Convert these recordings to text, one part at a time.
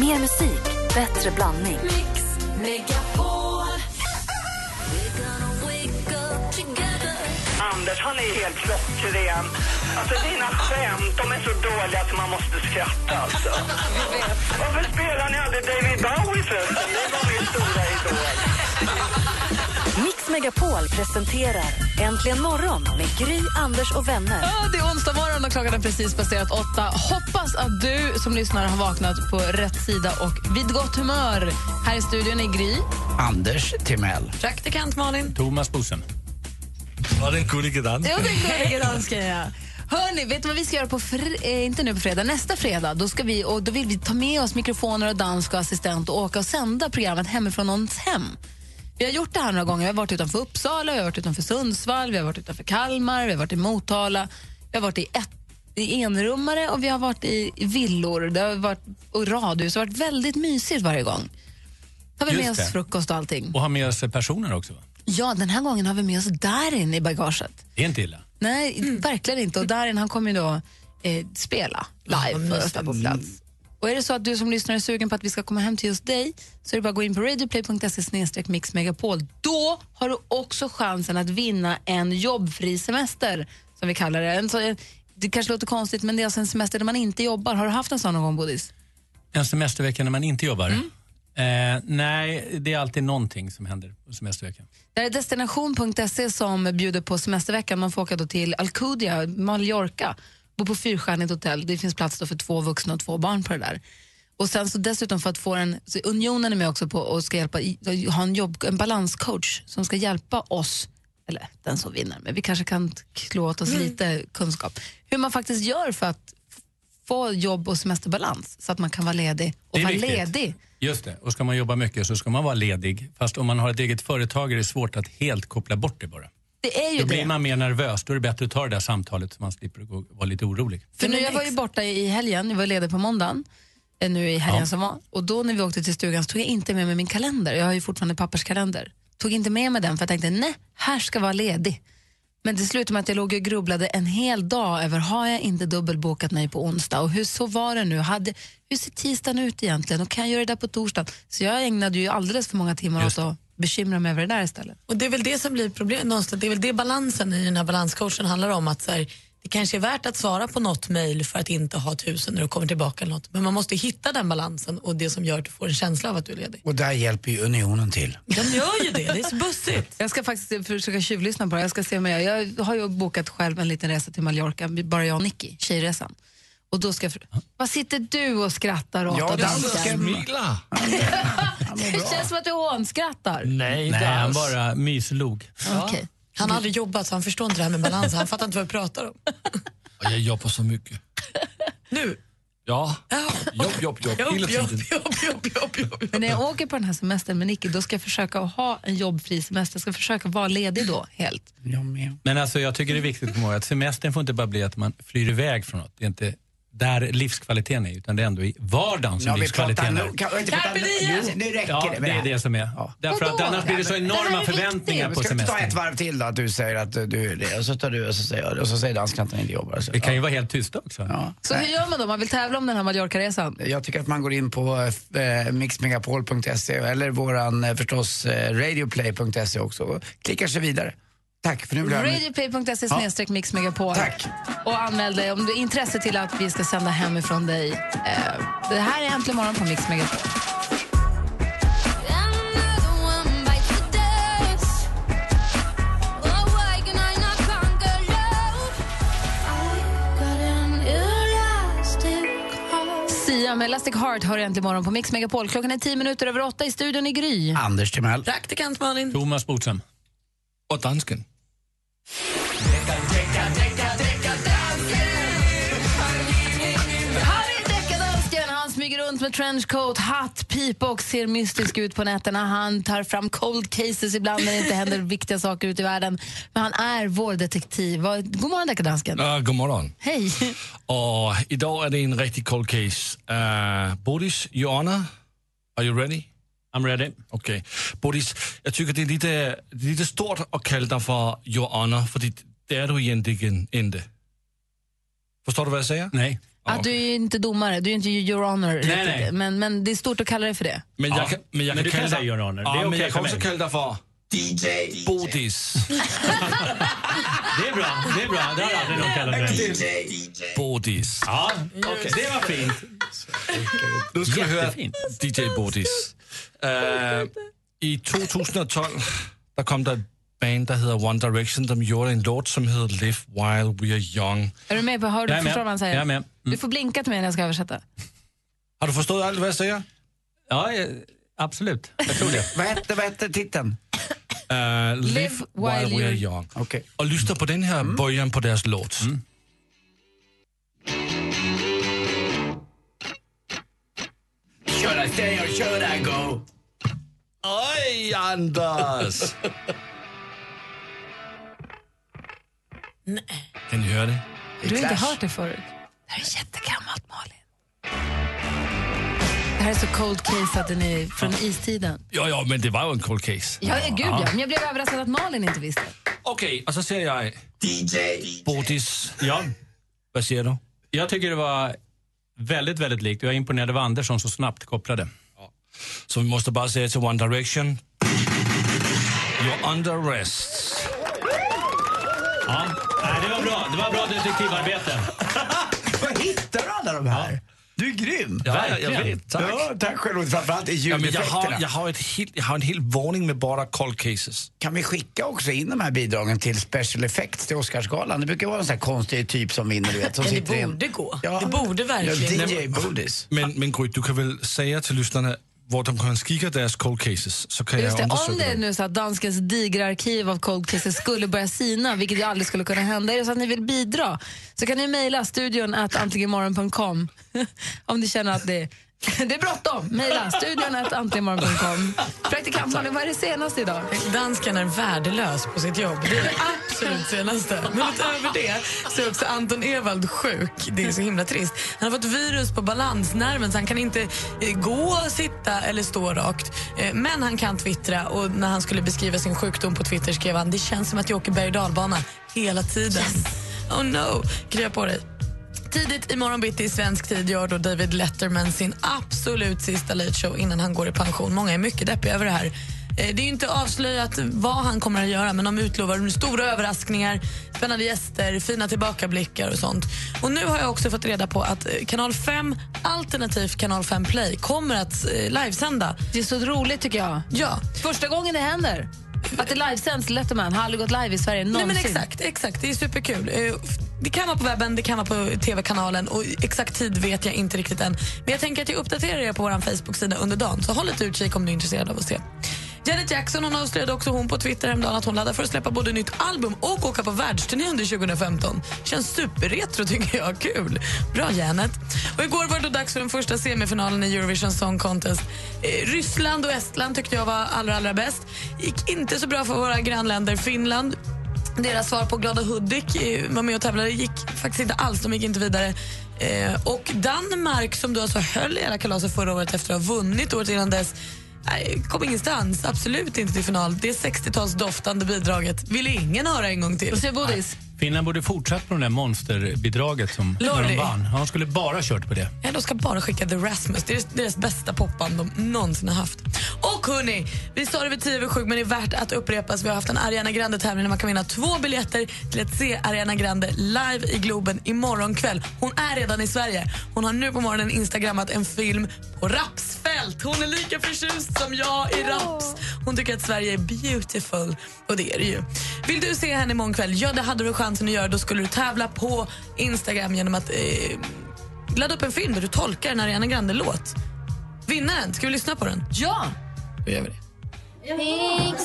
Mer musik, bättre blandning. Mix Megapol. Anders, han är helt klockren. Alltså dina skämt, de är så dåliga att man måste skratta alltså. Varför spelar ni aldrig David Bowie förresten? Det var min stora idol. Mix Megapol presenterar Äntligen morgon med Gry, Anders och vänner. Ja, det är onsdag morgon och klockan har precis passerat åtta. Hoppas att du som lyssnar har vaknat på rätt sida och vid gott humör. Här i studion är Gry. Anders Timell. Praktikant Malin. Thomas Bosen. Ja, den gullige dansk. Jo, det är gullige dansken, ja. Hörni, vet du vad vi ska göra på fr- eh, inte nu på fredag, nästa fredag? Då, ska vi, och då vill vi ta med oss mikrofoner och dansk och assistent och åka och sända programmet hemifrån någons hem. Vi har gjort det här några gånger. Vi har varit utanför Uppsala, vi har varit utanför Sundsvall, vi har varit utanför Kalmar, vi har varit i Motala, vi har varit i, ett, i enrummare och vi har varit i villor det har varit, och radhus. Det har varit väldigt mysigt varje gång. Tar vi Just med oss det. frukost och allting? Och har med oss personer också. va? Ja, den här gången har vi med oss Darin i bagaget. Det är inte illa. Nej, verkligen inte. Och Darin han kommer ju då eh, spela live och rösta på plats. Och är det så att du som lyssnar är sugen på att vi ska komma hem till just dig så är det bara att gå in på radioplay.se mixmegapol. Då har du också chansen att vinna en jobbfri semester, som vi kallar det. En, så, en- det kanske låter konstigt, men det är alltså en semester där man inte jobbar. Har du haft en sån någon gång, Bodis? En semestervecka när man inte jobbar. Mm. Eh, nej, det är alltid någonting som händer på semesterveckan. Det här är destination.se som bjuder på semesterveckan. Man får åka då till Alcudia, Mallorca, bo på fyrstjärnigt hotell. Det finns plats då för två vuxna och två barn på det där. Och sen så dessutom för att få en, så Unionen är med också på och ska hjälpa, i- ha en, jobb, en balanscoach som ska hjälpa oss, eller den som vinner, men vi kanske kan t- klå åt oss Mm. lite kunskap, hur man faktiskt gör för att f- få jobb och semesterbalans så att man kan vara ledig och Det är vara viktigt. ledig. Just det. Och ska man jobba mycket så ska man vara ledig. Fast om man har ett eget företag är det svårt att helt koppla bort det bara. Det är ju Då det. blir man mer nervös. Då är det bättre att ta det där samtalet så man slipper gå- vara lite orolig. För nu, jag var ju borta i helgen, jag var ledig på måndagen, eh, nu i helgen Ja. som var. Och då när vi åkte till stugan så tog jag inte med mig min kalender. Jag har ju fortfarande papperskalender. Tog inte med mig den för jag tänkte, nej, här ska vara ledig. Men det slutade med att jag låg och grubblade en hel dag över, har jag inte dubbelbokat mig på onsdag? Och hur så var det nu? Hade, hur ser tisdagen ut egentligen? Och kan jag göra det där på torsdagen? Så jag ägnade ju alldeles för många timmar åt Just att bekymra mig över det där istället. Och det är väl det som blir problem, någonstans. Det är väl det balansen i den här balanscoachen handlar om. Att så här, det kanske är värt att svara på något mejl för att inte ha tusen när du kommer tillbaka eller något. Men man måste hitta den balansen och det som gör att du får en känsla av att du är ledig. Och där hjälper ju Unionen till. De gör ju det, det är så bussigt. Jag ska faktiskt försöka tjuvlyssna på det. Jag ska se om jag, jag har ju bokat själv en liten resa till Mallorca, bara jag och Nicky, tjejresan. Och då ska jag, fr- vad sitter du och skrattar åt? Ja, och det dansken? Smila! det känns som att du hånskrattar. Mm. Nej, Nej, inte han alls. bara myslog. Okej. Han har aldrig jobbat så han förstår inte det här med balans. Han fattar inte vad vi pratar om. Jag jobbar så mycket. Nu, Ja, jobb, jobb, jobb. jobb, Hela jobb, tiden. jobb, jobb, jobb, jobb. Men när jag åker på den här semestern med Nicky, då ska jag försöka att ha en jobbfri semester. Jag ska försöka vara ledig då, helt. Jag med. Men alltså, jag tycker det är viktigt att komma ihåg att semestern får inte bara bli att man flyr iväg från något. Det är inte där livskvaliteten är, utan det är ändå i vardagen som Ja, vi pratar livskvaliteten nu. är. Kan vi inte prata nu? Jo, nu räcker Ja, det med det är här. det som är. Ja. Därför att Vadå? annars blir det så Nej, men det här är enorma viktigt. förväntningar Men på Ska vi inte ta ett semestern. varv till då? Att du säger att du är det och så tar du och så säger jag det och så säger dansken att han inte jobbar. Så, Vi kan ju vara helt tysta också. ja. Så Nej. hur gör man då? Man vill tävla om den här Mallorca-resan. Jag tycker att man går in på eh, mixmegapol.se eller våran eh, förstås eh, radioplay.se också och klickar sig vidare. Tack för nu blir jag... Radioplay.se snedstreck Mix Megapol. Tack. Och anmäl dig om du är intresse till att vi ska sända hemifrån dig. Eh, Det här är Äntligen morgon på Mix Megapol. Sia med Elastic Heart hör Äntligen morgon på Mix Megapol. Klockan är tio minuter över åtta i studion i Gry. Anders Timell. Praktikant Malin. Thomas Bodström. Och dansken. Harry Deckardansken, han smyger runt med trenchcoat, hatt, pipa och ser mystisk ut på nätterna. Han tar fram cold cases ibland när det inte händer viktiga saker ute i världen. Men han är vår detektiv. Vad- God morgon Deckardansken. Uh, god morgon. Hej. Och idag är det en riktig cold case. Uh, Bodis, Joanna, are you ready? I'm ready. Okej. Bodis, jag tycker det är lite, det är lite stort att kalla dig för Joanna, för det, det är du egentligen inte. Förstår du vad jag säger? Nej. Att du är ju inte domare, du är ju inte your honor. riktigt. nej. Men, men det är stort att kalla dig för det. Men jag, kan, men jag Men du kan kalla säga Your Honor. Ja, Det är men okej jag kan också för kalla mig. dig för DJ Bodis. Det är bra, det är bra. Det har aldrig någon kallat dig. Bodis. Ja, det var fint. Nu ska du höra Jättefint. DJ Bodis. Eh, I 2012 der kom der et band, der hedder One Direction, som gjorde en låt, som hedder Live While We Are Young. Är du med på hör, du Jag är med. förstår vad han säger? Jag är med. Mm. Du får blinka till mig när jag ska översätta. Har du forstået alt, hvad jeg siger? Ja, eh, absolut. Jag tror det. Vad hette, vad hette titeln? Uh, live, While We Are Young. Okej. Og lytter på den her Mm. bøjen på deres låt. Should I stay or should I go? Oj, Anders! Kan I høre det? Du har inte Clash. hört det förut. Det här är jättegammalt, Malin. Det här är så cold case att den är från istiden. Jo, jo, men det var jo en cold case. Ja, gud ja. Men jag blev överraskad att Malin inte visste. Okay, og så ser jeg... DJ Bodis. Ja, Hvad siger du? jag tycker det var väldigt, väldigt likt. Jag är imponerad av Anders som så snabbt kopplade. Så vi måste bara säga till One Direction. You're under arrest. Ja, nej, det var bra. Det var bra detektivarbete. Var hittar du alla de här? Du är grym! Verkligen. Tack. Ja, tack själv. Och Framförallt i Ja, men jag, har, ljudeffekterna. jag, har ett helt, jag har en hel varning med bara cold cases. Kan vi skicka också in de här bidragen till Special Effects till Oscarsgalan? Det brukar vara en sån här konstig typ som vinner, du vet. Som Men det sitter i en- borde gå. Det borde verkligen. Ja, DJ Bodis. Men, men Gry, du kan väl säga till lyssnarna var de kan skicka deras cold cases så kan Just jag det, om undersöka det är dem. nu så att danskens digra arkiv av cold cases skulle börja sina, vilket ju aldrig skulle kunna hända, är det så att ni vill bidra så kan ni mejla studion att antligenmorgon.com om ni känner att det det är bråttom. Mejla studion att antligenmorgon.com. Praktikant Malin, vad är det senaste idag? Dansken är värdelös på sitt jobb. Det är det absolut senaste. Men utöver det så är också Anton Ewald sjuk. Det är så himla trist. Han har fått virus på balansnerven så han kan inte eh, gå, sitta eller stå rakt. Eh, Men han kan twittra och när han skulle beskriva sin sjukdom på Twitter skrev han det känns som att jag åker berg och dalbana hela tiden. Oh no, krya på dig. Tidigt imorgon bitti i svensk tid gör då David Letterman sin absolut sista late show innan han går i pension. Många är mycket deppiga över det här. Eh, Det är ju inte avslöjat vad han kommer att göra men de utlovar stora överraskningar, spännande gäster, fina tillbakablickar och sånt. Och nu har jag också fått reda på att eh, Kanal 5 alternativt Kanal 5 Play kommer att eh, livesända. Det är så roligt tycker jag. Ja, Första gången det händer. Att det livesänds Letterman har aldrig gått live i Sverige någonsin. Nej, men exakt, exakt, det är superkul. Eh, f- Det kan vara på webben, det kan vara på tv-kanalen och exakt tid vet jag inte riktigt än. Men jag tänker att jag uppdaterar er på vår Facebook-sida under dagen så håll lite utkik om du är intresserad av att se. Janet Jackson hon avslöjade också hon på Twitter häromdagen att hon laddar för att släppa både nytt album och åka på världsturné under 2015. Känns superretro tycker jag. Kul! Bra Janet. Och igår var det då dags för den första semifinalen i Eurovision Song Contest. Eh, Ryssland och Estland tyckte jag var allra, allra bäst. Gick inte så bra för våra grannländer Finland. Deras svar på Glada Hudik eh, var med och tävlade gick faktiskt inte alls. De gick inte vidare. Eh, och Danmark, som du alltså höll i hela kalaset förra året efter att ha vunnit året innan dess, nej, kom ingenstans. Absolut inte till final. Det 60-talsdoftande bidraget vill ingen höra en gång till. Vad säger Bodis? Finland borde fortsatt på det där monsterbidraget som när Lordi. de vann. Ja, de skulle bara kört på det. Ja, de ska bara skicka The Rasmus. Det är deras bästa popband de någonsin har haft. Och hörni, vi sa det vid 10 över sju, men det är värt att upprepas. Vi har haft en Ariana Grande-tävling där man kan vinna två biljetter till att se Ariana Grande live i Globen imorgon kväll. Hon är redan i Sverige. Hon har nu på morgonen instagrammat en film på rapsfält. Hon är lika förtjust som jag i raps. Hon tycker att Sverige är beautiful, och det är det ju. Vill du se henne imorgon kväll? Ja, det hade du chansen att göra. Då skulle du tävla på Instagram genom att eh, Ladda upp en film där du tolkar en Ariana Grande-låt. Vinnaren, ska vi lyssna på den? Ja! Då gör vi det. Mix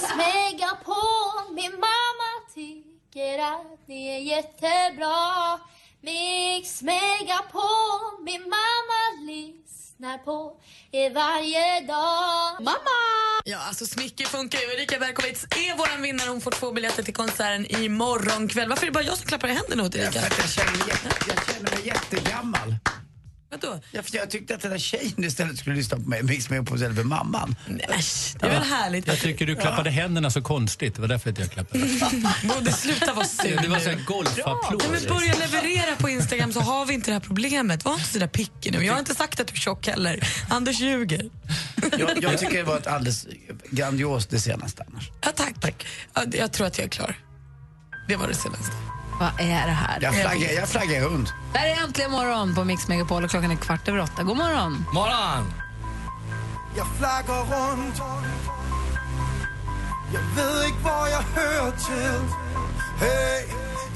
Megapol, min mamma tycker att ni är jättebra. Mix Megapol, min mamma lyssnar på er varje dag. Mamma! Ja, alltså smycke funkar ju. Erika Berkowitz är våran vinnare. Hon får två biljetter till konserten imorgon kväll. Varför är det bara jag som klappar i händerna åt Erika? Jag känner mig jätte- jag känner mig jättegammal. Vadå? Ja, för jag tyckte att den där tjejen istället skulle lyssna på mig, Mix Megapol istället för mamman. Äsch, det är väl härligt? Jag tycker du klappade händerna så konstigt. Det var därför inte jag klappade. Borde sluta vara sur Det var nu. så här golfapplåd. Nej, men börja leverera på Instagram så har vi inte det här problemet. Var inte så där picky nu. Jag har inte sagt att du är tjock heller. Anders ljuger. Jag, jag tycker det var ett alldeles grandios det senaste annars. Ja, tack. Ja, jag tror att jag är klar. Det var det senaste. Vad är det här? Jag flaggar, jag flaggar hund. Där är äntligen morgon på Mix Megapol och klockan är kvart över åtta. God morgon! Morgon! Jeg flakker rundt Jeg ved ikke, hvor jeg hører til Hey,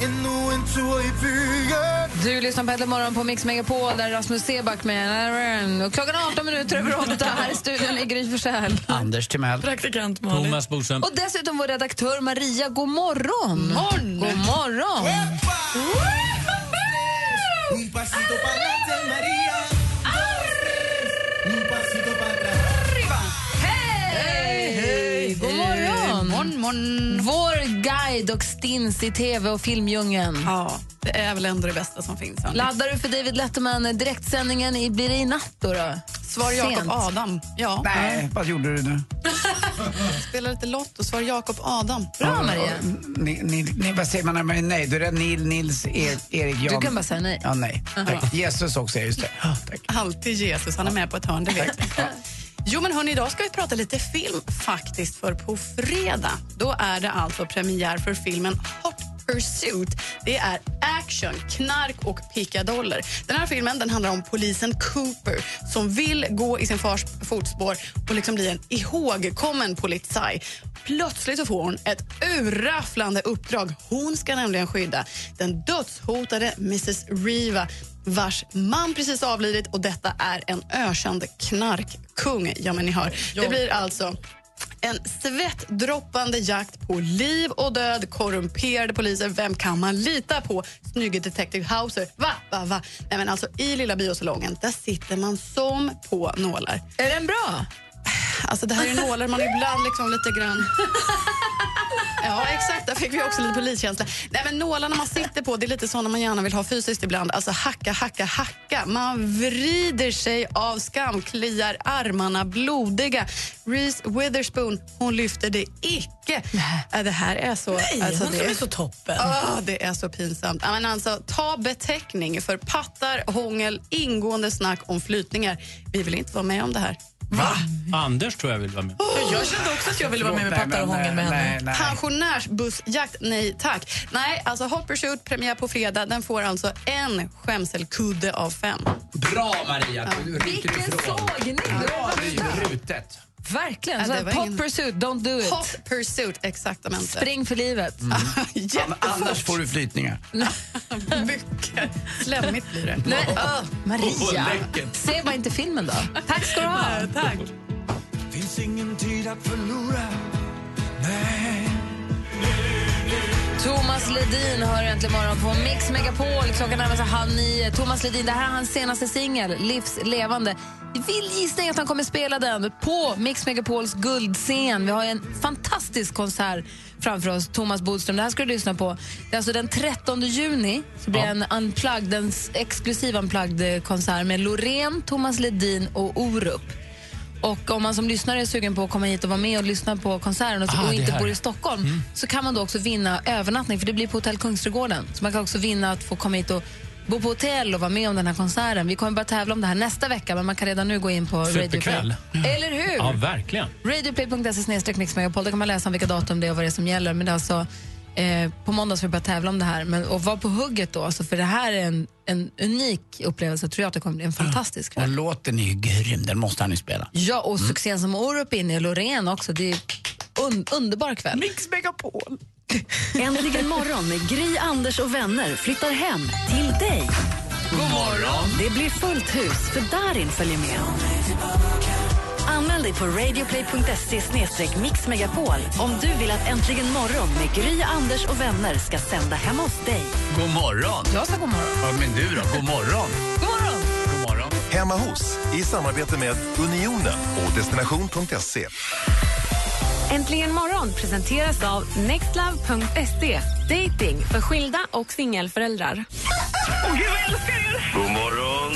endnu en tur i byen Du lyssnar på Äntligen morgon på Mix Megapol där Rasmus Seback med... Och klockan är 18 minuter över åtta här i studion i Gry Forssell. Anders Timell. Praktikant Malin. Thomas Bodström. Och dessutom vår redaktör Maria, god morgon! morgon. God morgon! Epa! Un pasito para adelante, María Un pasito para atrás Hej! God morgon! Morgon, morgon. Vår guide och stins i tv och filmdjungeln. Ja, det är väl ändå det bästa som finns. Ann. Laddar du för David Letterman direktsändningen i Blir det i natt då? då? Svar Jakob Sent. Adam. Ja, Nej, vad gjorde du nu? spelar lite Lotto. Svar Jakob Adam. Bra Maria. Ni, ni, ni, vad säger man när man är nej? Då är det Nil, Nils, er, Erik, Jan. Du kan bara säga nej. Ja, nej. Tack. Jesus också, ja, just det. Ja, Tack. Alltid Jesus. Han är med på ett hörn, det vet vi. Jo, men hörni, idag ska vi prata lite film faktiskt. För på fredag, då är det alltså premiär för filmen Hot Pursuit. Det är action, knark och pickadoller. Den här filmen den handlar om polisen Cooper som vill gå i sin fars fotspår och liksom bli en ihågkommen polizaj. Plötsligt så får hon ett urrafflande uppdrag. Hon ska nämligen skydda den dödshotade Mrs Riva vars man precis avlidit och detta är en ökänd knarkkung. Ja, men ni hör. Det blir alltså en svettdroppande jakt på liv och död, korrumperade poliser. Vem kan man lita på? Snygge Detective Hauser. Va, va, va? Nej, men alltså, I lilla biosalongen där sitter man som på nålar. Är den bra? Alltså det här är nålar man ibland liksom lite grann... Ja, exakt. Där fick vi också lite poliskänsla. Nej, men nålarna man sitter på, det är lite såna man gärna vill ha fysiskt ibland. Alltså hacka, hacka, hacka. Man vrider sig av skam, kliar armarna blodiga. Reese Witherspoon, hon lyfter det icke. Äh, Det här är så... Nej, alltså, hon det som är så toppen. Ah, det är så pinsamt. Ja, Men alltså, ta beteckning för pattar, hångel, ingående snack om flytningar. Vi vill inte vara med om det här. Anders tror jag vill vara med. Oh! Jag kände också att jag ville vara med med Förlåt, pattar och nej, hångel med nej, henne. Nej, nej. Pensionärsbussjakt, nej tack. Nej, alltså Hot Pursuit, premiär på fredag. Den får alltså en skämselkudde av fem. Bra, Maria. Du rycker Vilken ifrån. sågning! Bra, det är rutet. Verkligen. Ja, Så det här, var Pop ingen- pursuit, don't do it. Hot Pursuit, exaktamente. Spring för livet. An- Annars får du flytningar. Mycket slemmigt blir det. Nej, men, öh, Maria, Åh, läckert. ser man inte filmen då? Tack ska du ha. Tack. Finns ingen tid att förlora Nej Thomas Ledin hör äntligen morgon på Mix Megapol. Klockan närmar sig halv nio. Thomas Ledin, det här är hans senaste singel, Livs levande. Jag Vill gissa att han kommer spela den på Mix Megapols guldscen. Vi har ju en fantastisk konsert framför oss. Thomas Bodström, det här ska du lyssna på. Det är alltså den 13 juni så blir det en unplugged, en s- exklusiv unplugged-konsert med Loreen, Thomas Ledin och Orup. Och om man som lyssnare är sugen på att komma hit och vara med och lyssna på konserten och, så- Ah, och det inte här. Mm. bor i Stockholm så kan man då också vinna övernattning för det blir på Hotell Kungsträdgården. Så man kan också vinna att få komma hit och bo på hotell och vara med om den här konserten. Vi kommer bara tävla om det här nästa vecka men man kan redan nu gå in på Radio Play. Superkväll. Eller hur? Ja, verkligen. Radioplay.se snedstreck mixmegapol. Där kan man läsa om vilka datum det är och vad det är som gäller. Men det är alltså, eh, på måndag ska vi börja tävla om det här. Men, och var på hugget då, alltså, för det här är en, en unik upplevelse. Jag tror jag att det kommer bli en fantastisk kväll. Och låten är ju grym, den måste han ju spela. Ja, och succén som Orup är inne i, Loreen också. Det är un underbar kväll. Mix Megapol. Äntligen morgon med Gry, Anders och vänner flyttar hem till dig. God morgon! Det blir fullt hus för Darin följer med. Anmäl dig på radioplay.se mixmegapol om du vill att Äntligen morgon med Gry, Anders och vänner ska sända hemma hos dig. God morgon! Jag sa god morgon. Ja, men du då? God morgon! God morgon! God morgon. Hemma hos i samarbete med Unionen och destination.se. Äntligen morgon presenteras av nextlove.se. Dating för skilda och singelföräldrar. Åh, gud, vad jag älskar er! God morgon!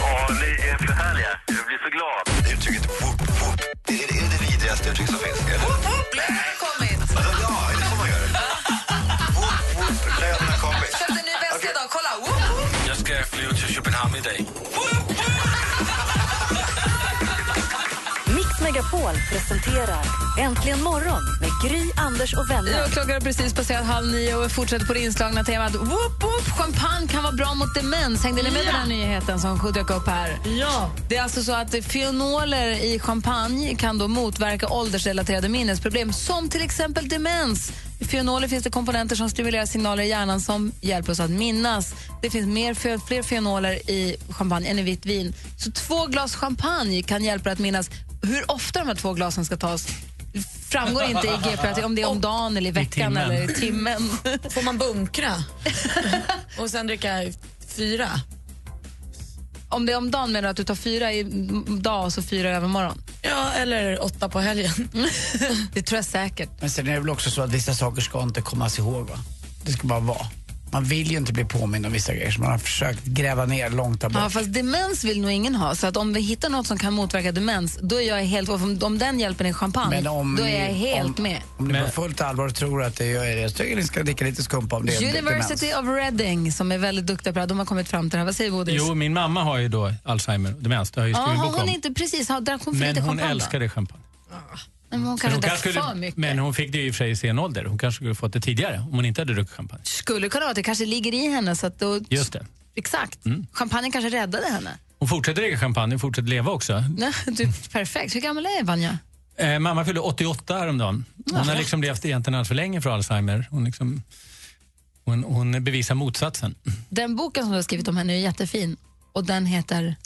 Åh, ni är för härliga. Jag blir så glad. Uttrycket whoop, whoop. Det är det, är det vidrigaste uttryck som finns. Eller? Whoop, whoop, lönen har kommit. Ja, är det så man gör det? Whoop, whoop, lönen har kommit. Köpte en ny väska Okej. idag, kolla! Woop, woop. Jag ska flyga till Köpenhamn idag. Mix Megapol presenterar Äntligen morgon med Gry, Anders och vänner. Ja, klockan har precis passerat halv nio och fortsätter på det inslagna temat. Whoop, whoop, champagne kan vara bra mot demens. Hängde ni med på Ja. den här nyheten som dök upp här? Ja. Det är alltså så att fenoler i champagne kan då motverka åldersrelaterade minnesproblem som till exempel demens. I fenoler finns det komponenter som stimulerar signaler i hjärnan som hjälper oss att minnas. Det finns mer, fe- fler fenoler i champagne än i vitt vin. Så två glas champagne kan hjälpa dig att minnas hur ofta de här två glasen ska tas. framgår inte i GP om det är om dagen eller i veckan timmen. eller i timmen. Får man bunkra? och sen dricka fyra? Om det är om dagen menar du att du tar fyra i m- dag och så fyra i övermorgon? Ja, eller åtta på helgen. det tror jag säkert. Men sen är det väl också så att vissa saker ska inte kommas ihåg va? Det ska bara vara. Man vill ju inte bli påmind om vissa grejer som man har försökt gräva ner långt där bort. Ja, fast demens vill nog ingen ha. Så att om vi hittar något som kan motverka demens, då är jag helt... och Om, om den hjälpen är champagne, Men om då är ni- jag helt med. Om ni på fullt allvar tror att det gör det, jag tycker ni ska dricka lite skumpa om det är University demens. of Reading, som är väldigt duktiga på det här, de har kommit fram till det här. Vad säger Bodis? Jo, min mamma har ju då Alzheimer och demens. Det har jag ju ja, skrivit hon bok om. är inte precis, har- drack hon för Men lite hon champagne? älskade champagne. då? Men hon Men kanske drack kanske för mycket. men hon fick det ju i och för sig i sen ålder. Hon kanske skulle fått det tidigare om hon inte hade druckit champagne. Skulle kunna vara att det kanske ligger i henne. Så att då, Just det. Exakt. Mm. Champagne kanske räddade henne. Hon fortsätter dricka champagne, hon fortsätter leva också. Nej, du, perfekt. Hur gammal är Vanja? Eh, mamma fyllde 88 häromdagen. Hon har Jaha. liksom levt egentligen alldeles för länge för Alzheimer. Hon, liksom, hon, hon bevisar motsatsen. Den boken som du har skrivit om henne är jättefin. Och den heter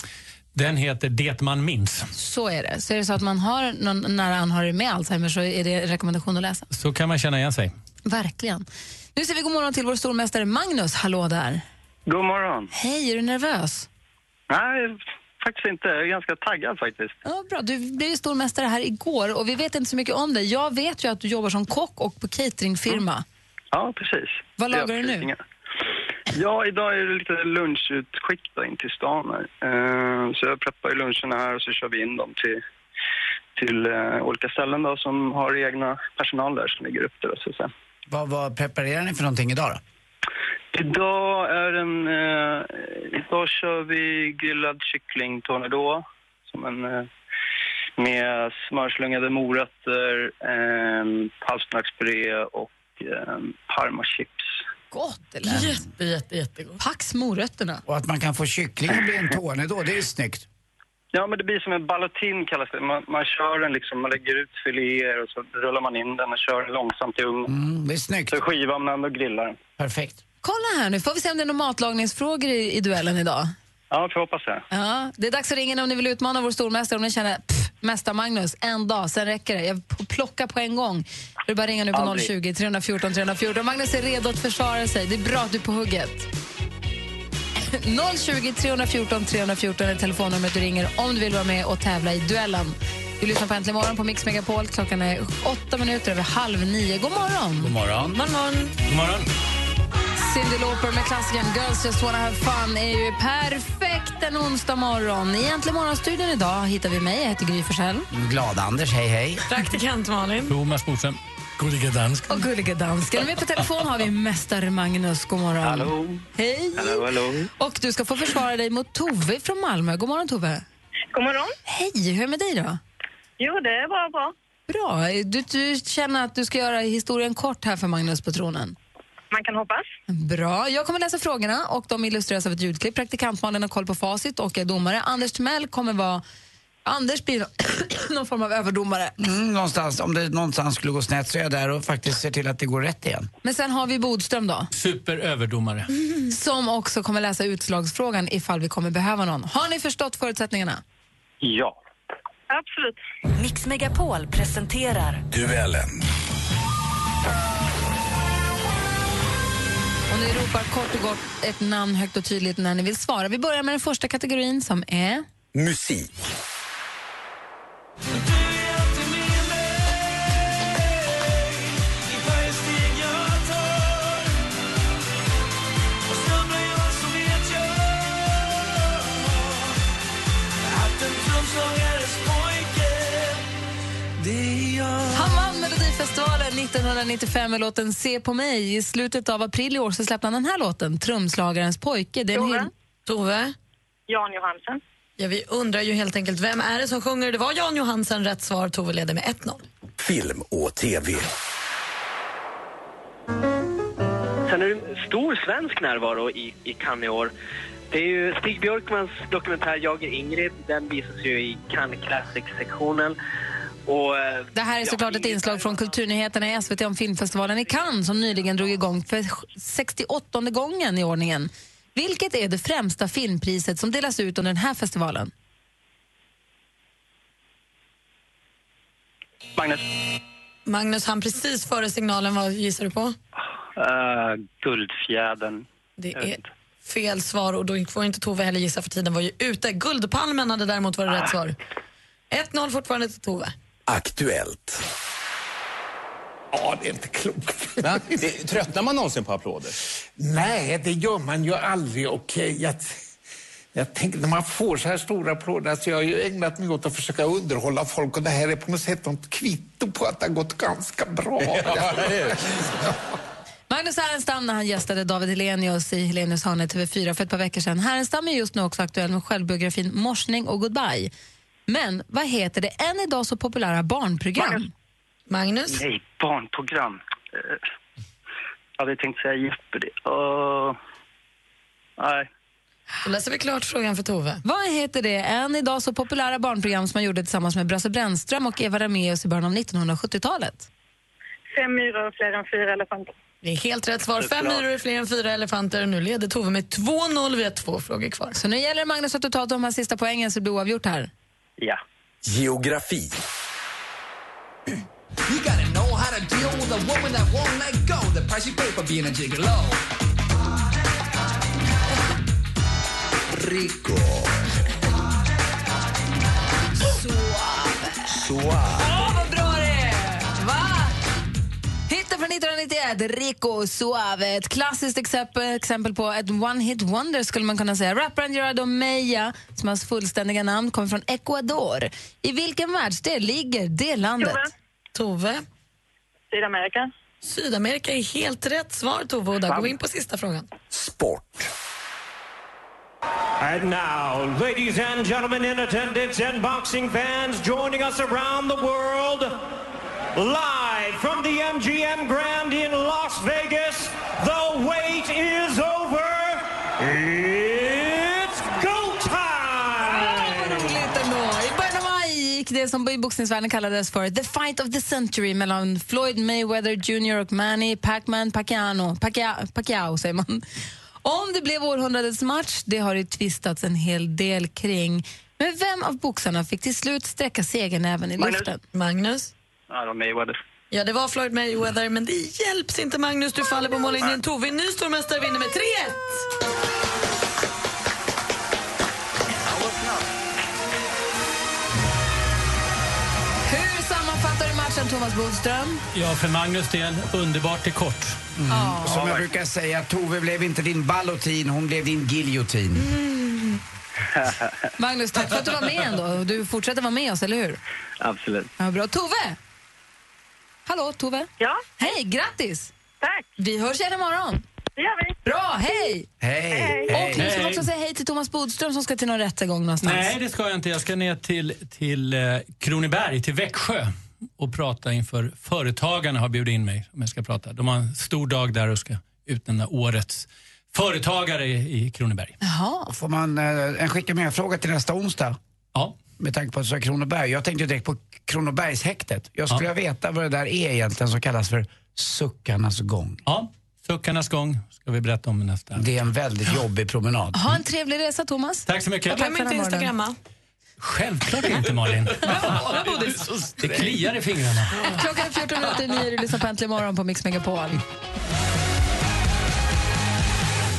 Den heter Det man minns. Så är det. Så är det så att man har någon nära anhörig med Alzheimer så är det en rekommendation att läsa. Så kan man känna igen sig. Verkligen. Nu säger vi god morgon till vår stormästare Magnus. Hallå där. God morgon. Hej, är du nervös? Nej, faktiskt inte. Jag är ganska taggad faktiskt. Ja, bra. Du blev ju stormästare här igår och vi vet inte så mycket om dig. Jag vet ju att du jobbar som kock och på cateringfirma. Mm. Ja, precis. Vad lagar Det är du nu? precis inga- Ja, idag är det lite lunchutskick då in till stan här. Eh, Så jag preppar ju luncherna här och så kör vi in dem till, till eh, olika ställen då som har egna personal där som lägger upp det. Då, så att säga. Vad, vad preparerar ni för någonting idag då? Idag är en... Eh, idag kör vi grillad kyckling tornado som en, eh, med smörslungade morötter, eh, palsternakspuré och eh, parmachips. Gott det lät. Jätte, jätte, jättegott. Pax morötterna. Och att man kan få kyckling och bli en tårne då, det är ju snyggt. Ja, men det blir som en ballotin kallas det. Man, man kör den liksom, man lägger ut filéer och så rullar man in den och kör den långsamt i ugnen. Mm, det är snyggt. Så skivar man den och grillar den. Perfekt. Kolla här nu, får vi se om det är några matlagningsfrågor i, i duellen idag? Ja, får hoppas det. Ja, det är dags att ringa in om ni vill utmana vår stormästare om ni känner pff, mästar Magnus, en dag, sen räcker det. Jag p- plockar på en gång. Det är bara att ringa nu på Aldrig. 020 314 314. Magnus är redo att försvara sig. Det är bra att du är på hugget. 020 314 314 är telefonnumret du ringer om du vill vara med och tävla i duellen. Du lyssnar på Äntligen morgon på Mix Megapol. Klockan är åtta minuter över halv nio. God morgon! God morgon. God morgon. God morgon. Cyndi Lauper med klassikern Girls Just Wanna Have Fun är ju perfekt en onsdag morgon. I Äntligen morgonstudion idag hittar vi mig, jag heter Gry Forssell. Glada Anders, hej hej. Praktikant Malin. Thomas Bodström. Gulliga dansk. Och gulliga dansken. Med på telefon har vi mästare Magnus. God morgon. Hallå. Hej. Hallå, hallå. Och du ska få försvara dig mot Tove från Malmö. God morgon Tove. God morgon. Hej, hur är det med dig då? Jo, det är bara bra. Bra. Du, du känner att du ska göra historien kort här för Magnus på tronen. Man kan hoppas. Bra. Jag kommer läsa frågorna och de illustreras av ett ljudklipp. Praktikantmannen har koll på facit och är domare. Anders Timell kommer vara... Anders blir någon form av överdomare. Mm, någonstans, om det någonstans skulle gå snett så är jag där och faktiskt ser till att det går rätt igen. Men sen har vi Bodström då, Superöverdomare. som också kommer läsa utslagsfrågan ifall vi kommer behöva någon. Har ni förstått förutsättningarna? Ja. Absolut. Mix Megapol presenterar Duellen. Och ni ropar kort och gott ett namn högt och tydligt när ni vill svara. Vi börjar med den första kategorin som är... Musik. I varje steg jag tar sångares pojke Det är jag Han vann Melodifestivalen 1995 med låten Se på mig. I slutet av april i år så släppte han den här låten, Trumslagarens pojke. Det är en hyll... Tove? Jan Johansen. Ja, vi undrar ju helt enkelt, vem är det som sjunger? Det var Jan Johansen, rätt svar. Tove leder med 1-0. Film och TV. Sen är det en stor svensk närvaro i, i Cannes i år. Det är ju Stig Björkmans dokumentär Jag är Ingrid. Den visas ju i Cannes Classic-sektionen. Och, eh, Det här är ja, såklart ett inslag från Kulturnyheterna i SVT om filmfestivalen i Cannes som nyligen drog igång för 68 gången i ordningen. Vilket är det främsta filmpriset som delas ut under den här festivalen? Magnus. Magnus, han precis före signalen, vad gissar du på? Uh, guldfjädern. Det Jag vet är inte. fel svar och då får inte Tove heller gissa för tiden var ju ute. Guldpalmen hade däremot varit rätt svar. 1-0 fortfarande till Tove. Aktuellt. Ja, det är inte klokt. Det, tröttnar man någonsin på applåder? Nej, det gör man ju aldrig. Och eh, jag, jag tänker, när man får så här stora applåder, alltså jag har ju ägnat mig åt att försöka underhålla folk och det här är på något sätt något kvitto på att det har gått ganska bra. Ja, det är det. Magnus Härenstam när han gästade David Helenius i Helenius hörna i TV4 för ett par veckor sedan. Härenstam är just nu också aktuell med självbiografin Morsning och Goodbye. Men vad heter det än idag så populära barnprogram? Magnus? Nej, barnprogram. Uh, hade jag tänkt säga Jeopardy. Uh, nej. Då läser vi klart frågan för Tove. Vad heter det än idag så populära barnprogram som man gjorde tillsammans med Brasse Brännström och Eva Ramaeus i början av 1970-talet? Fem myror och fler än fyra elefanter. Det är helt rätt svar. Fem Såklart. myror är fler än fyra elefanter och nu leder Tove med 2-0. Vi har två frågor kvar. Så nu gäller det Magnus att du tar de här sista poängen så det blir oavgjort här. Ja. Geografi. You gotta know how to deal with a woman that won't let go. The price you pay for being a gigolo. Rico. Suave. vad bra det är! Va? Hitten från 1991, Rico Suave. Ett klassiskt exempel, exempel på ett one-hit wonder skulle man kunna säga. Rapparen Gerardo Meja, som hans fullständiga namn, kommer från Ecuador. I vilken världsdel ligger det landet? Tove? Sydamerika. Sydamerika är helt rätt svar, Tove. Och där går vi in på sista frågan. Sport. And now, ladies and gentlemen in attendance and boxing fans joining us around the world, live from the MGM Grand in Las Vegas, the wait is over. It's go time! roligt ändå. I början av maj gick det som i boxningsvärlden kallades för the fight of the century mellan Floyd Mayweather Jr och Manny Pacman Pacquiao. Pacquiao, Pacquiao säger man. Om det blev århundradets match, det har det tvistats en hel del kring. Men vem av boxarna fick till slut sträcka segernäven i Magnus. luften? Magnus? Ja, de är vad det Ja, det var Floyd Mayweather, men det hjälps inte Magnus. Du faller på mållinjen. Tove, ny stormästare, vinner med 3-1. Hur sammanfattar du matchen, Thomas Bodström? Ja, för Magnus del, underbart till kort. Och Som jag brukar säga, Tove blev inte din ballotin, hon blev din giljotin. Magnus, tack för att du var med ändå. Och Du fortsätter vara med oss, eller hur? Absolut. Ja, bra. Tove! Hallå, Tove? Ja? Hej, grattis! Tack! Vi hörs igen imorgon. Det gör vi. Bra, hej! Hej! Och vi ska Hej. också säga hej till Thomas Bodström som ska till någon rättegång någonstans. Nej, det ska jag inte. Jag ska ner till, till eh, Kronoberg, till Växjö och prata inför företagarna har bjudit in mig. Om jag ska prata. De har en stor dag där och ska utnämna årets företagare i, i Kronoberg. Då Får man eh, en skicka med fråga till nästa onsdag? Ja. Med tanke på att du sa Kronoberg. Jag tänkte direkt på Kronobergshäktet. Jag skulle Ja. vilja veta vad det där är egentligen som kallas för suckarnas gång. Ja, suckarnas gång ska vi berätta om nästa. Det är en väldigt jobbig promenad. Ha en trevlig resa, Thomas. Tack så mycket. Och tack för den här morgonen. Självklart inte, Malin. Det kliar i fingrarna. Klockan är 14 minuter i nio, du lyssnar på Äntligen morgon på Mix Megapol.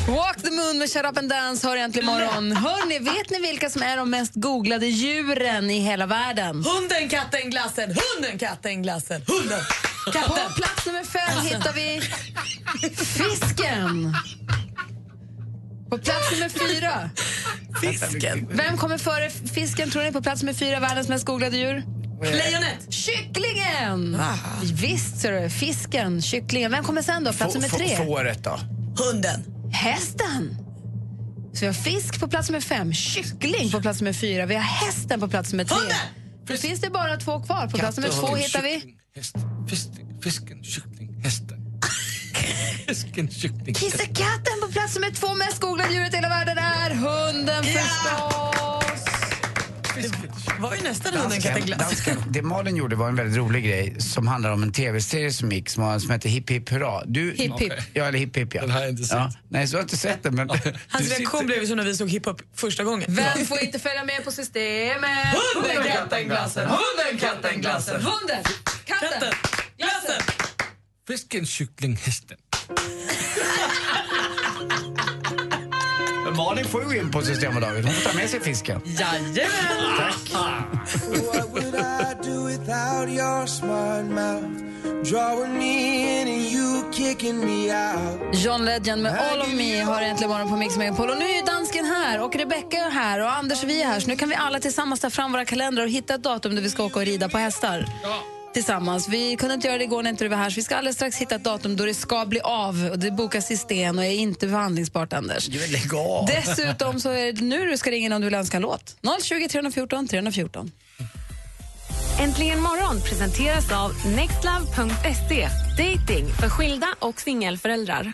Walk the moon med Shut up and dance hör äntligen morgon. Hör ni, vet ni vilka som är de mest googlade djuren i hela världen? Hunden, katten, glassen. Hunden, katten, glassen. Hunden, katten. På plats nummer fem hittar vi fisken. På plats nummer fyra. Fisken. Vem kommer före fisken tror ni på plats nummer fyra, världens mest googlade djur? Lejonet. Kycklingen! Visst ser du, fisken, kycklingen. Vem kommer sen då? Plats nummer alltså tre? Fåret då? Hunden. Hästen. Så vi har fisk på plats nummer fem, kyckling på plats nummer fyra, vi har hästen på plats nummer tre. Hunden! Då finns det bara två kvar. På plats nummer Katt, två hund, hittar vi... kyckling, Häst, fisk, fisken, kyckling, hästen. fisken, kyckling, hästen. Kissekatten på plats nummer två mest googlade djuret i hela världen är hunden förstås. var ju nästan Dansken, dansken, det Malin gjorde var en väldigt rolig grej som handlar om en tv-serie som gick som, var- som hette Hipp Hipp Hurra. Du, Hipp, hipp. Ja, eller Hipp Hipp ja. Den har jag inte sett. Ja. Nej, så har jag inte sett den. Men Hans reaktion blev ju som när vi såg hiphop första gången. Vem får inte följa med på systemet? Hunden, katten, glassen. Hunden, katten, glassen. Hunden, katten, glassen. Fisken, kyckling, hästen. Men Malin får ju gå in på Systembolaget. Hon får ta med sig fisken. Jajamän! What would I do without your smart mouth? Drawing me in and you kicking me out. John Legend med All of me har äntligen morgon på Mix Megapol. Och nu är ju dansken här och Rebecca är här och Anders och vi är här. Så nu kan vi alla tillsammans ta fram våra kalendrar och hitta ett datum där vi ska åka och rida på hästar. Tillsammans. Vi kunde inte göra det igår när inte du var här så vi ska alldeles strax hitta ett datum då det ska bli av. Och det bokas i sten och är inte förhandlingsbart, Anders. Lägg av! Dessutom så är det nu du ska ringa in om du vill önska en låt. 020 314 314. Äntligen morgon presenteras av nextlove.se. Dating för skilda och singelföräldrar.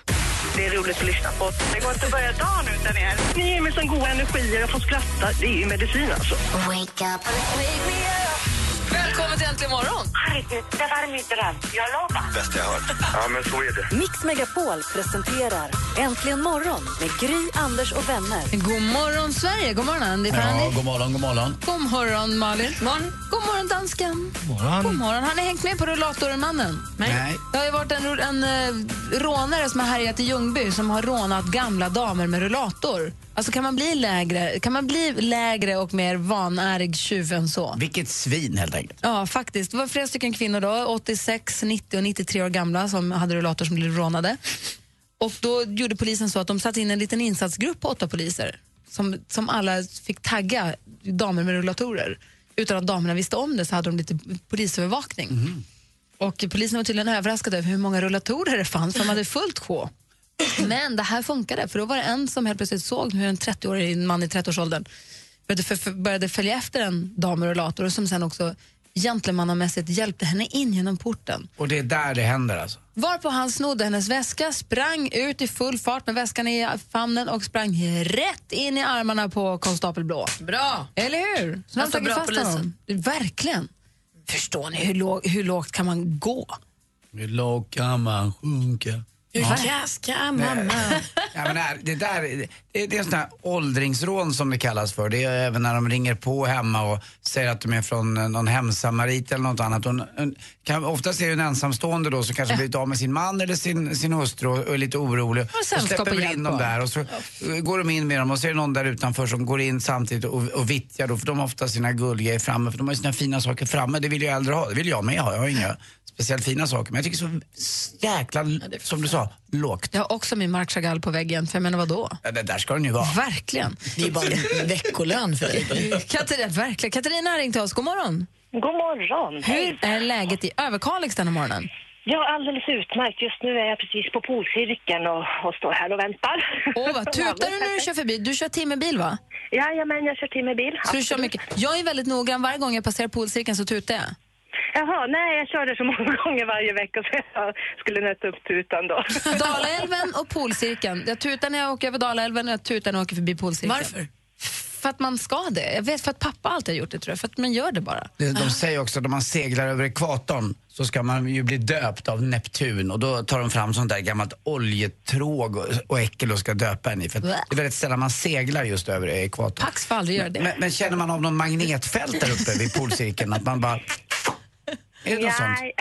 Det är roligt att lyssna på. Det går inte att börja dagen utan er. Ni ger mig sån god energi. Jag får skratta. Det är ju medicin alltså. Wake up. Välkommen till Äntligen morgon! Herregud, det var min dröm. Jag lovar. Bästa jag hört. Ja, men så är det. Mix Megapol presenterar Äntligen morgon med Gry, Anders och vänner. God morgon, Sverige! God morgon, Andy Ja, Ferrandi. god morgon, god morgon. God morgon, Malin. Morgon. God morgon, dansken. God morgon. God morgon. Har ni hängt med på rullatoren, mannen? Nej. Det har ju varit en, ro- en eh, rånare som har härjat i Ljungby som har rånat gamla damer med rullator. Alltså kan man bli lägre, kan man bli lägre och mer vanärig tjuv än så? Vilket svin helt enkelt. Ja, faktiskt. Det var flera stycken kvinnor då, 86, 90 och 93 år gamla som hade rullator som blev rånade. Och då gjorde polisen så att de satte in en liten insatsgrupp på åtta poliser som, som alla fick tagga damer med rullatorer. Utan att damerna visste om det så hade de lite polisövervakning. Och polisen var tydligen överraskad över hur många rullatorer det fanns, för de hade fullt sjå. Men det här funkade, för då var det en som helt plötsligt såg hur en 30-årig man i 30-årsåldern började, för- för- började följa efter en dam med rullator och som sen också gentlemannamässigt hjälpte henne in genom porten. Och det är där det händer alltså. Varpå han snodde hennes väska, sprang ut i full fart med väskan i famnen och sprang rätt in i armarna på konstapel Blå. Bra! Eller hur? Så alltså, Alltså, de bra har tagit polisen. fast honom. Verkligen. Förstår ni hur, låg, hur lågt kan man gå? Hur lågt kan man sjunka? ska Nej. Ja, men det, här, det, där, det, det är en sån här åldringsrån som det kallas för. Det är även när de ringer på hemma och säger att de är från eh, någon hemsamarit eller något annat. Och en, en, kan, oftast är det en ensamstående då som kanske blivit av med sin man eller sin, sin hustru och är lite orolig. Och sällskap släpper och väl hjälp in dem och där allt. och så eh, går de in med dem och så är det någon där utanför som går in samtidigt och, och vittjar då för de har ofta sina guldgrejer framme för de har ju sina fina saker framme. Det vill jag äldre ha, det vill jag med ha. Jag har inga speciellt fina saker men jag tycker så jäkla, som du sa, lågt. Jag har också min Marc Chagall på väggen, för jag menar vadå? Ja, det där ska den ju vara. Verkligen. Det är bara en veckolön för dig. Katarina, verkligen. Katarina har ringt till oss. God morgon. God morgon. Hur är läget i Överkalix den här morgonen? Ja, alldeles utmärkt. Just nu är jag precis på polcirkeln och, och står här och väntar. Åh, vad tutar du när du kör förbi? Du kör timmerbil, va? Jajamän, jag kör timmerbil. Så du kör mycket. Jag är väldigt noggrann. Varje gång jag passerar polcirkeln så tutar jag. Jaha, nej, jag kör det så många gånger varje vecka så jag skulle nöta upp tutan då. Dalaälven och polcirkeln. Jag tutar när jag åker över Dalaälven och jag tutar när jag åker förbi polcirkeln. Varför? För att man ska det. Jag vet för att pappa alltid har gjort det, tror jag. För att man gör det bara. Det- De säger också att om man seglar över ekvatorn så ska man ju bli döpt av Neptun och då tar de fram sånt där gammalt oljetråg och- och äckel och ska döpa en i. För att det är väldigt sällan man seglar just över ekvatorn. Pax får aldrig göra det. Men, men känner man av någon magnetfält där uppe vid polcirkeln? Att man bara... Är det något sånt? nej,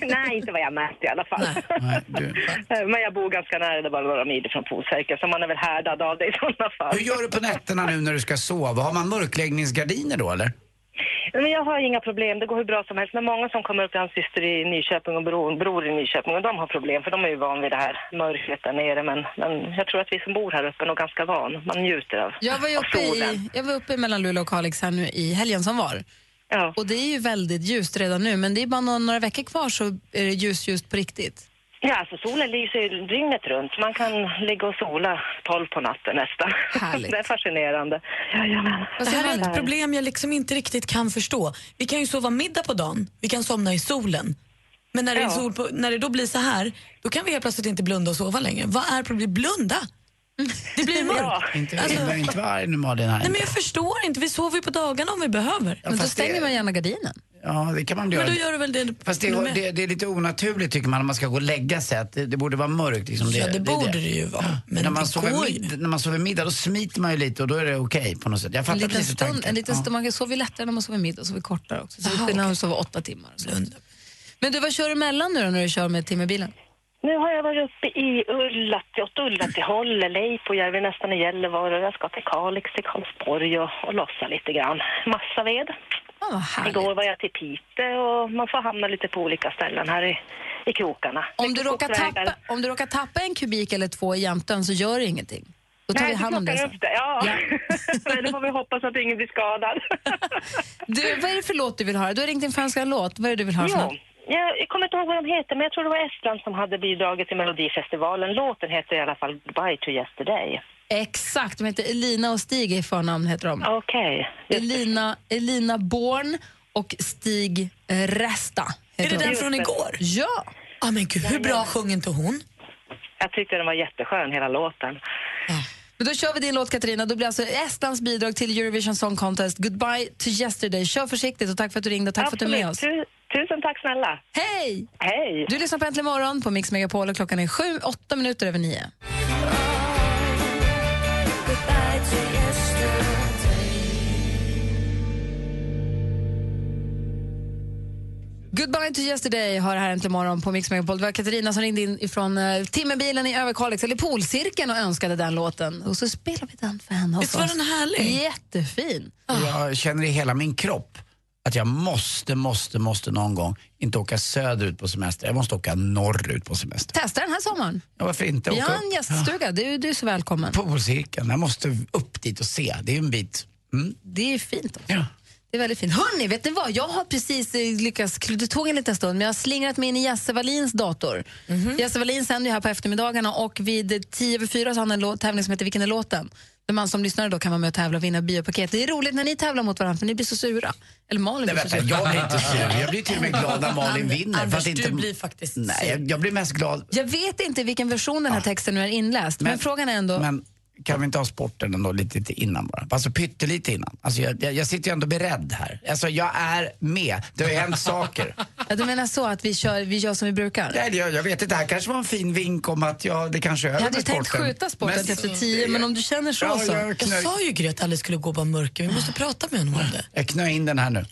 nej, inte vad jag märkt i alla fall. Men jag bor ganska nära, det är bara några mil från polcirkeln så man är väl härdad av det i sådana fall. Hur gör du på nätterna nu när du ska sova? Har man mörkläggningsgardiner då eller? Men jag har inga problem, det går hur bra som helst. Men många som kommer upp, till hans syster i Nyköping och bror, bror i Nyköping, och de har problem för de är ju van vid det här mörkret där nere. Men, men jag tror att vi som bor här uppe är nog ganska van. Man njuter av Jag var, ju av uppe solen. i, jag var uppe mellan Luleå och Kalix här nu i helgen som var. Och det är ju väldigt ljust redan nu, men det är bara några, några veckor kvar så är det ljus, ljust på riktigt. Ja, alltså solen lyser ju dygnet runt. Man kan ligga och sola tolv på natten nästan. det är fascinerande. Jajamän. Fast Alltså, det här är ett problem jag liksom inte riktigt kan förstå. Vi kan ju sova middag på dagen, vi kan somna i solen. Men när, det, är Ja. sol på, när det då blir så här, då kan vi helt plötsligt inte blunda och sova längre. Vad är problemet? Blunda? Det blir mörkt. Inte, Alltså- inte, inte vara arg nu Malin. här. Nej men jag förstår inte, vi sover ju på dagarna om vi behöver. Men då fast stänger det- man gärna gardinen. Ja, det kan man göra. Men då gör du väl det Fast det, du är- med. det, det är lite onaturligt tycker man om man ska gå och lägga sig. Att det, det borde vara mörkt. Liksom. Ja, det borde det ju vara. Men när man, sover går mid, när man sover middag då smiter man ju lite och då är det okej på något sätt. Jag En fattar liten precis hur stund, tanken. en liten Ja. stund. Man kan sova lättare när man sover middag och sover kortare också. Så Aha, det är när man sover åtta timmar. och så. Men du, vad kör du mellan nu då när du kör med timmerbilen? Nu har jag varit uppe i Ullatti, åt Ullatiholle, Leipojärvi, nästan i Gällivare. Jag ska till Kalix, till Karlsborg och, och lossa lite grann. Massa ved. Igår var jag till Piteå och man får hamna lite på olika ställen här i, i krokarna. Om du, råkar tappa, om du råkar tappa en kubik eller två i jämten så gör det ingenting. Då tar Nej, vi så hand om det plockar sen. vi upp det. Ja. Nej, då får vi hoppas att ingen blir skadad. Du, vad är det för låt du vill höra? Du har ringt in för att önska en låt. Vad är det du vill höra? för Jo, något? jag, jag kommer inte ihåg vad de heter, men jag tror det var Estland som hade bidragit till Melodifestivalen. Låten heter i alla fall Goodbye to yesterday. Exakt, de heter Elina och Stig i förnamn heter de. Okej. Elina, Elina Born och Stig eh, Resta. Är heter det de. den från igår? Ja. Ja men gud, hur bra sjöng inte hon? Jag tyckte den var jätteskön, hela låten. Men då kör vi din låt Katarina. Då blir alltså Estlands bidrag till Eurovision Song Contest Goodbye to yesterday. Kör försiktigt och tack för att du ringde och tack för att du är med oss. Absolut. Tu- tusen tack snälla. Hej! Hej! Du lyssnar på Äntligen morgon på Mix Megapol och klockan är sju, åtta minuter över nio. Goodbye to yesterday har här äntligen morgon på Mix Megapol. Det var Katarina som ringde in ifrån eh, timmerbilen i Överkalix, eller Polcirkeln, och önskade den låten. Och så spelar vi den för henne. Visst hos var oss. den härlig? Jättefin. Jag känner i hela min kropp att jag måste, måste, måste någon gång inte åka söderut på semester. Jag måste åka norrut på semester. Testa den här sommaren. Ja, varför inte? Vi Åka har upp. en gäststuga. Du, du är så välkommen. Polcirkeln, jag måste upp dit och se. Det är en bit. Mm. Det är fint också. Det är väldigt fint. Hörni, vet ni vad? Jag har precis eh, lyckats, det tog en liten stund, men jag har slingrat mig in i Jesse Wallins dator. Mhm. Jesse Wallin sänder ju här på eftermiddagarna och vid tio över fyra så har han en låt, tävling som heter Vilken är låten? Där man som lyssnare då kan vara med och tävla och vinna biopaket. Det är roligt när ni tävlar mot varandra för ni blir så sura. Eller Malin Nej, blir så vänta, sur. jag blir inte sur. Jag blir till och med glad när Malin Anders, vinner. Anders, fast inte... du blir faktiskt Nej, sur. jag, jag blir mest glad. Jag vet inte vilken version den här texten nu är inläst, men, frågan är ändå... Ah. Men kan vi inte ha sporten ändå lite, lite innan bara? Alltså pyttelite innan. Alltså, jag, jag, jag sitter ju ändå beredd här. Alltså jag är med. Det har ju hänt saker. Ja, du menar så att vi, kör, vi gör som vi brukar? Nej, jag, jag vet inte, det här kanske var en fin vink om att jag, det kanske är Jag över hade ju med tänkt sporten. skjuta sporten Men- till efter tio, men om du känner så Ja, så. jag knö- Jag sa ju Gry att Alice skulle gå och vara mörker, vi måste prata med honom om det. Jag knö in den här nu.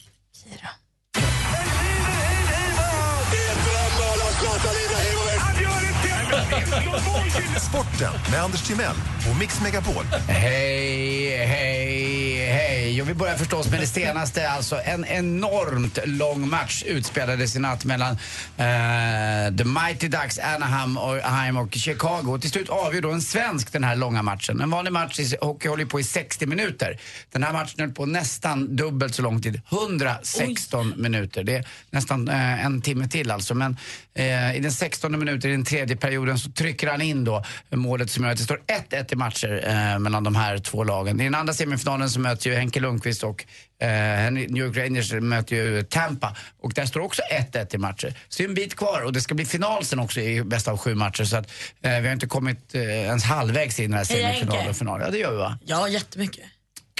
Sporten med Anders Timell och Mix Megapol. Hej, hej, hej. Och vi börjar förstås med det senaste. Alltså en enormt lång match utspelades i natt mellan eh, The Mighty Ducks, Anaheim och, Anaheim och Chicago. Och till slut avgör då en svensk den här långa matchen. En vanlig match i hockey håller ju på i 60 minuter. Den här matchen höll på nästan dubbelt så lång tid. 116 minuter. Det är nästan eh, en timme till alltså. Men eh, i den 16 minuten i den tredje perioden så trycker han in då målet som gör att det står 1-1 i matcher eh, mellan de här två lagen. I den andra semifinalen så möter ju Henke Lundqvist och eh, Henry- New York Rangers möter ju Tampa och där står också 1-1 i matcher. Så det är en bit kvar och det ska bli final sen också i bästa av sju matcher så att eh, vi har inte kommit eh, ens halvvägs in i den här Hej, Henke. semifinalen och finalen. Ja, det gör vi va? Ja, jättemycket.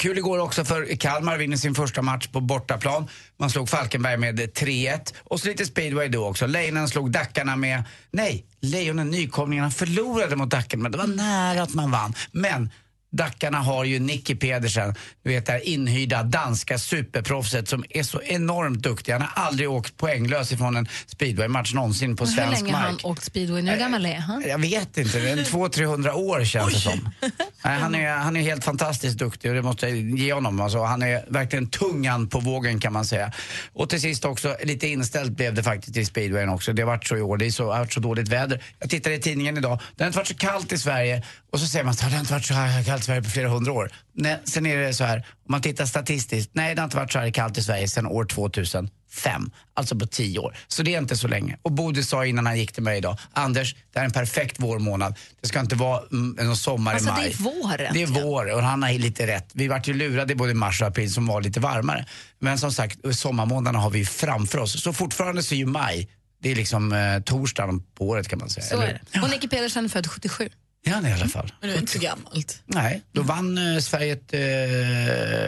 Kul igår också för Kalmar vinner sin första match på bortaplan. Man slog Falkenberg med 3-1. Och så lite speedway då också. Lejonen slog Dackarna med... Nej, Lejonen, nykomlingarna, förlorade mot Dackarna. Men det var nära att man vann. Men Dackarna har ju Nicky Pedersen, du vet det här inhyrda danska superproffset som är så enormt duktig. Han har aldrig åkt poänglös ifrån en speedwaymatch någonsin på Men Hur svensk länge har han mark. Eh, åkt speedway nu? Hur gammal är han? Jag vet inte, det är en 200-300 år känns det som. Nej, han, är, han är helt fantastiskt duktig och det måste jag ge honom. Alltså, han är verkligen tungan på vågen kan man säga. Och till sist också, lite inställt blev det faktiskt i speedwayen också. Det har varit så i år, det är så, har varit så dåligt väder. Jag tittade i tidningen idag, det har inte varit så kallt i Sverige. Och så säger man så här, det har inte varit så här kallt i Sverige på flera hundra år. Nej, sen är det så här, om man tittar statistiskt, nej det har inte varit så här kallt i Sverige sedan år 2005. alltså på tio år. Så det är inte så länge. Och Bodil sa innan han gick till mig idag, Anders, det här är en perfekt vårmånad. Det ska inte vara mm, någon sommar Alltså, i det maj. är vår Det är vår och han har lite rätt. Vi vart ju lurade i både mars och april som var lite varmare. Men som sagt, sommarmånaderna har vi ju framför oss. Så fortfarande så är ju maj, det är liksom eh, torsdagen på året kan man säga. Så eller? är det. Och Nicky Pedersen är född 77. Ja, han är i alla fall. Men det är inte så gammalt. Nej, då vann eh, Sverige ett, eh,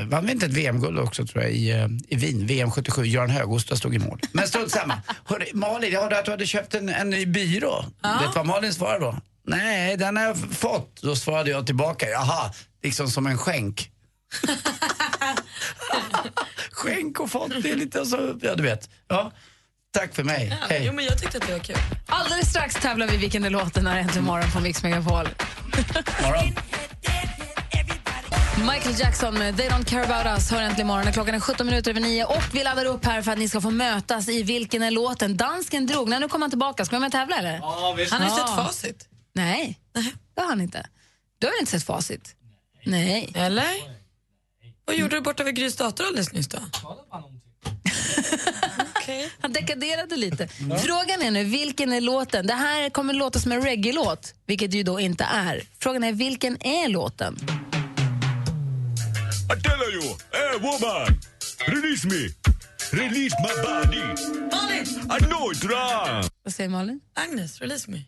vann vi inte ett VM-guld också tror jag i, eh, i Wien, VM 77. Göran Högostad stod i mål. Men strunt samma. Hörru, Malin, jag hörde att du hade köpt en, en ny byrå. Vet du vad Malin svarade då? Nej, den har jag f- fått. Då svarade jag tillbaka, jaha, liksom som en skänk. skänk och fått, det är lite så, ja du vet. Ja. Tack för mig, hej. Jo, men jag tyckte att det var kul. Alldeles strax tävlar vi vilken det låter när det äntligen morgon på Mix Megapol. Michael Jackson med They Don't Care About Us hör äntligen morgon. Klockan är 17 minuter över 9 och vi laddar upp här för att ni ska få mötas i Vilken är låten? Dansken drog. Nej, nu kommer han tillbaka. Ska vi med och tävla eller? Ja, visst. Han har ju sett facit. Nej, det har han inte. Du har väl inte sett facit? Nej. Eller? Vad gjorde du borta vid Grys dator alldeles nyss då? Han dekaderade lite. Frågan är nu, vilken är låten? Det här kommer låta som en reggae-låt, vilket det ju då inte är. Frågan är, vilken är låten? I tell you, hey woman, release me, release my body. Malin! I know it's wrong. Vad säger Malin? Agnes, release me.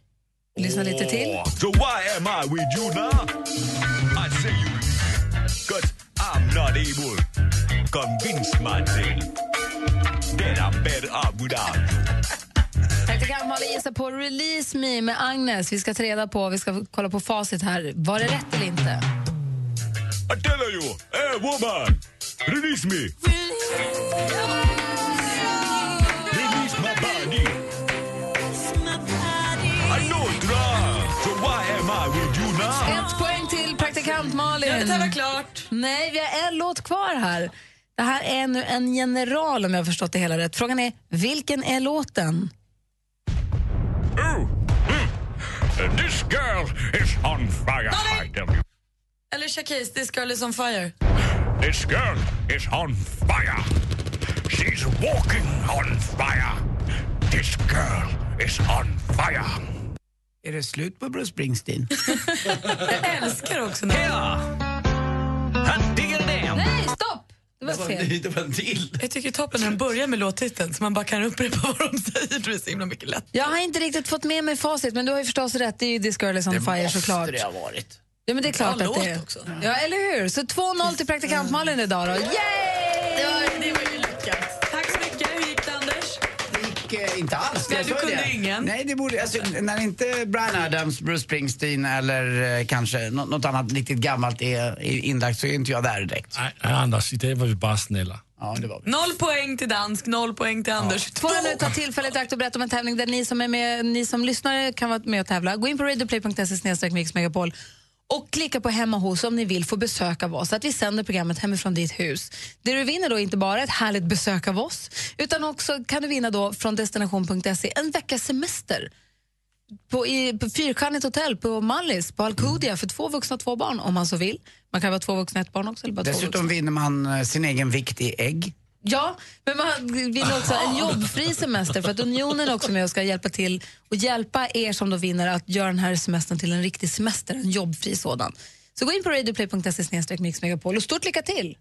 Lyssna lite till. Oh, So why am I with you now? I say you, cause I'm not able convince myself that I'm better off without you. Praktikant Malin gissar på Release Me med Agnes. Vi ska ta reda på, vi ska kolla på facit här. Var det rätt eller inte? I tell you, hey woman, release me. Release my body. I know it's wrong. So why am I with you now? Ett poäng till praktikant Malin. Ah. Ja, det var klart. Nej, vi har en låt kvar här. Det här är nu en general om jag har förstått det hela rätt. Frågan är, vilken är låten? This girl is on fire, I tell you. Eller Shakis, This girl is on fire. This girl is on fire. She's walking on fire. This girl is on fire. Är det slut på Bruce Springsteen? Jag älskar också när... Han digger Nej, stopp! Det var fel. Det var en till. Jag tycker det är toppen när de börjar med låttiteln så man bara kan upprepa vad de säger. Det är så himla mycket lätt. Jag har inte riktigt fått med mig facit, men du har ju förstås rätt. Det är ju This Girl Is On Fire såklart. varit. Ja, men det är klart Bra att det låt är. också. Ja, eller hur? Så 2-0 till praktikant Malin idag då. Yay! Det var, det var ju lyckat. Tack så mycket. Hur gick det, Anders? Eh, Inte alls. Nej, jag du sa ju kunde det. ingen. Nej, det borde, alltså, när inte Brian Adams, Bruce Springsteen eller eh, kanske nå- något annat riktigt gammalt är, är inlagt så är inte jag där direkt. Nej, Anders, idag var vi bara snälla. Ja, det var vi. Noll poäng till dansk, noll poäng till Anders. Får jag nu ta tillfället i akt och berätta om en tävling där ni som, är med, ni som lyssnar kan vara med och tävla. Gå in på radioplay.se mixmegapol och klicka på hemma hos om ni vill få besök av oss, så att vi sänder programmet hemifrån ditt hus. Det du vinner då är inte bara ett härligt besök av oss, utan också kan du vinna då från destination.se en veckas semester på, i, på fyrstjärnigt hotell på Mallis, på Alcudia, för två vuxna och två barn om man så vill. Man kan vara två vuxna och ett barn också. Eller bara två vuxna. Dessutom vinner man eh, sin egen vikt i ägg. Ja, men man vill också ha en jobbfri semester för att Unionen är också med och ska hjälpa till och hjälpa er som då vinner att göra den här semestern till en riktig semester, en jobbfri sådan. Så gå in på radioplay.se snedstreck Mix Megapol och stort lycka till!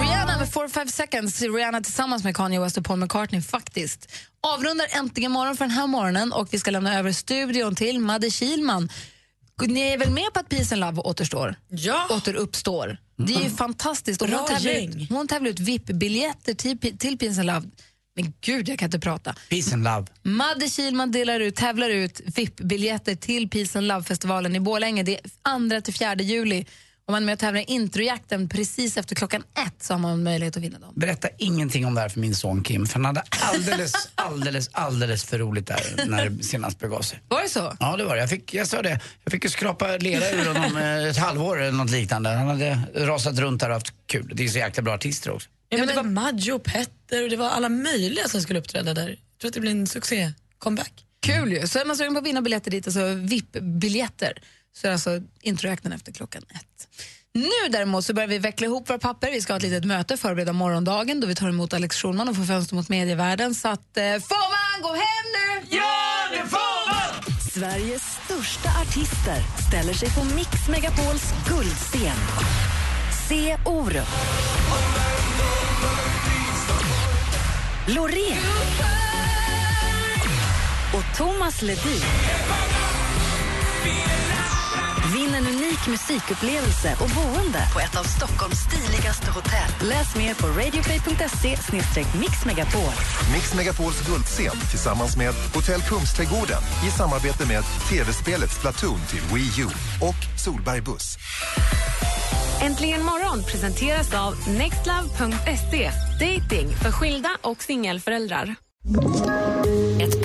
Rihanna med 4-5 seconds, Rihanna tillsammans med Kanye West och Paul McCartney faktiskt. Avrundar äntligen morgon för den här morgonen och vi ska lämna över studion till Madde Kilman. Ni är väl med på att Peace and Love återstår? Ja. Återuppstår. Det är ju fantastiskt. Och Mm. Bra hon, tävlar gäng. ut, hon tävlar ut VIP-biljetter till, Pi- till Peace and E Love Men gud, jag kan inte prata. Peace and love. Madde Kihlman delar ut, tävlar ut VIP-biljetter till Peace and E Love-festivalen i Borlänge. Det är 2-4 juli. Om man är med och tävlar i introjakten precis efter klockan ett så har man möjlighet att vinna dem. Berätta ingenting om det här för min son Kim, för han hade alldeles, alldeles, alldeles för roligt där när det senast begav sig. Var det så? Ja, det var det. Jag, fick, jag sa det, jag fick ju skrapa lera ur honom eh, ett halvår eller något liknande. Han hade rasat runt där och haft kul. Det är så jäkla bra artister också. Ja, men det var Maggio och Petter och det var alla möjliga som skulle uppträda där. Jag tror att det blir en succé-comeback. Kul ju! Så är man sugen på att vinna biljetter dit, alltså VIP-biljetter, så är det alltså introjakten efter klockan ett. Nu däremot så börjar vi veckla ihop våra papper. Vi ska ha ett litet möte, förbereda morgondagen då vi tar emot Alex Schulman och får fönster mot medievärlden. Så att, eh, får man gå hem nu? Ja, det får man! Sveriges största artister ställer sig på Mix Megapols guldscen. Se Orup. Loreen. Och Thomas Ledin. Vinn en unik musikupplevelse och boende på ett av Stockholms stiligaste hotell. Läs mer på radioplay.se mixmegapol. Mix Megapols guldscen tillsammans med Hotell Kungsträdgården i samarbete med tv-spelet Splatoon till Wii U och Solberg Buss. Äntligen morgon presenteras av nextlove.se. Dating för skilda och singelföräldrar. Ett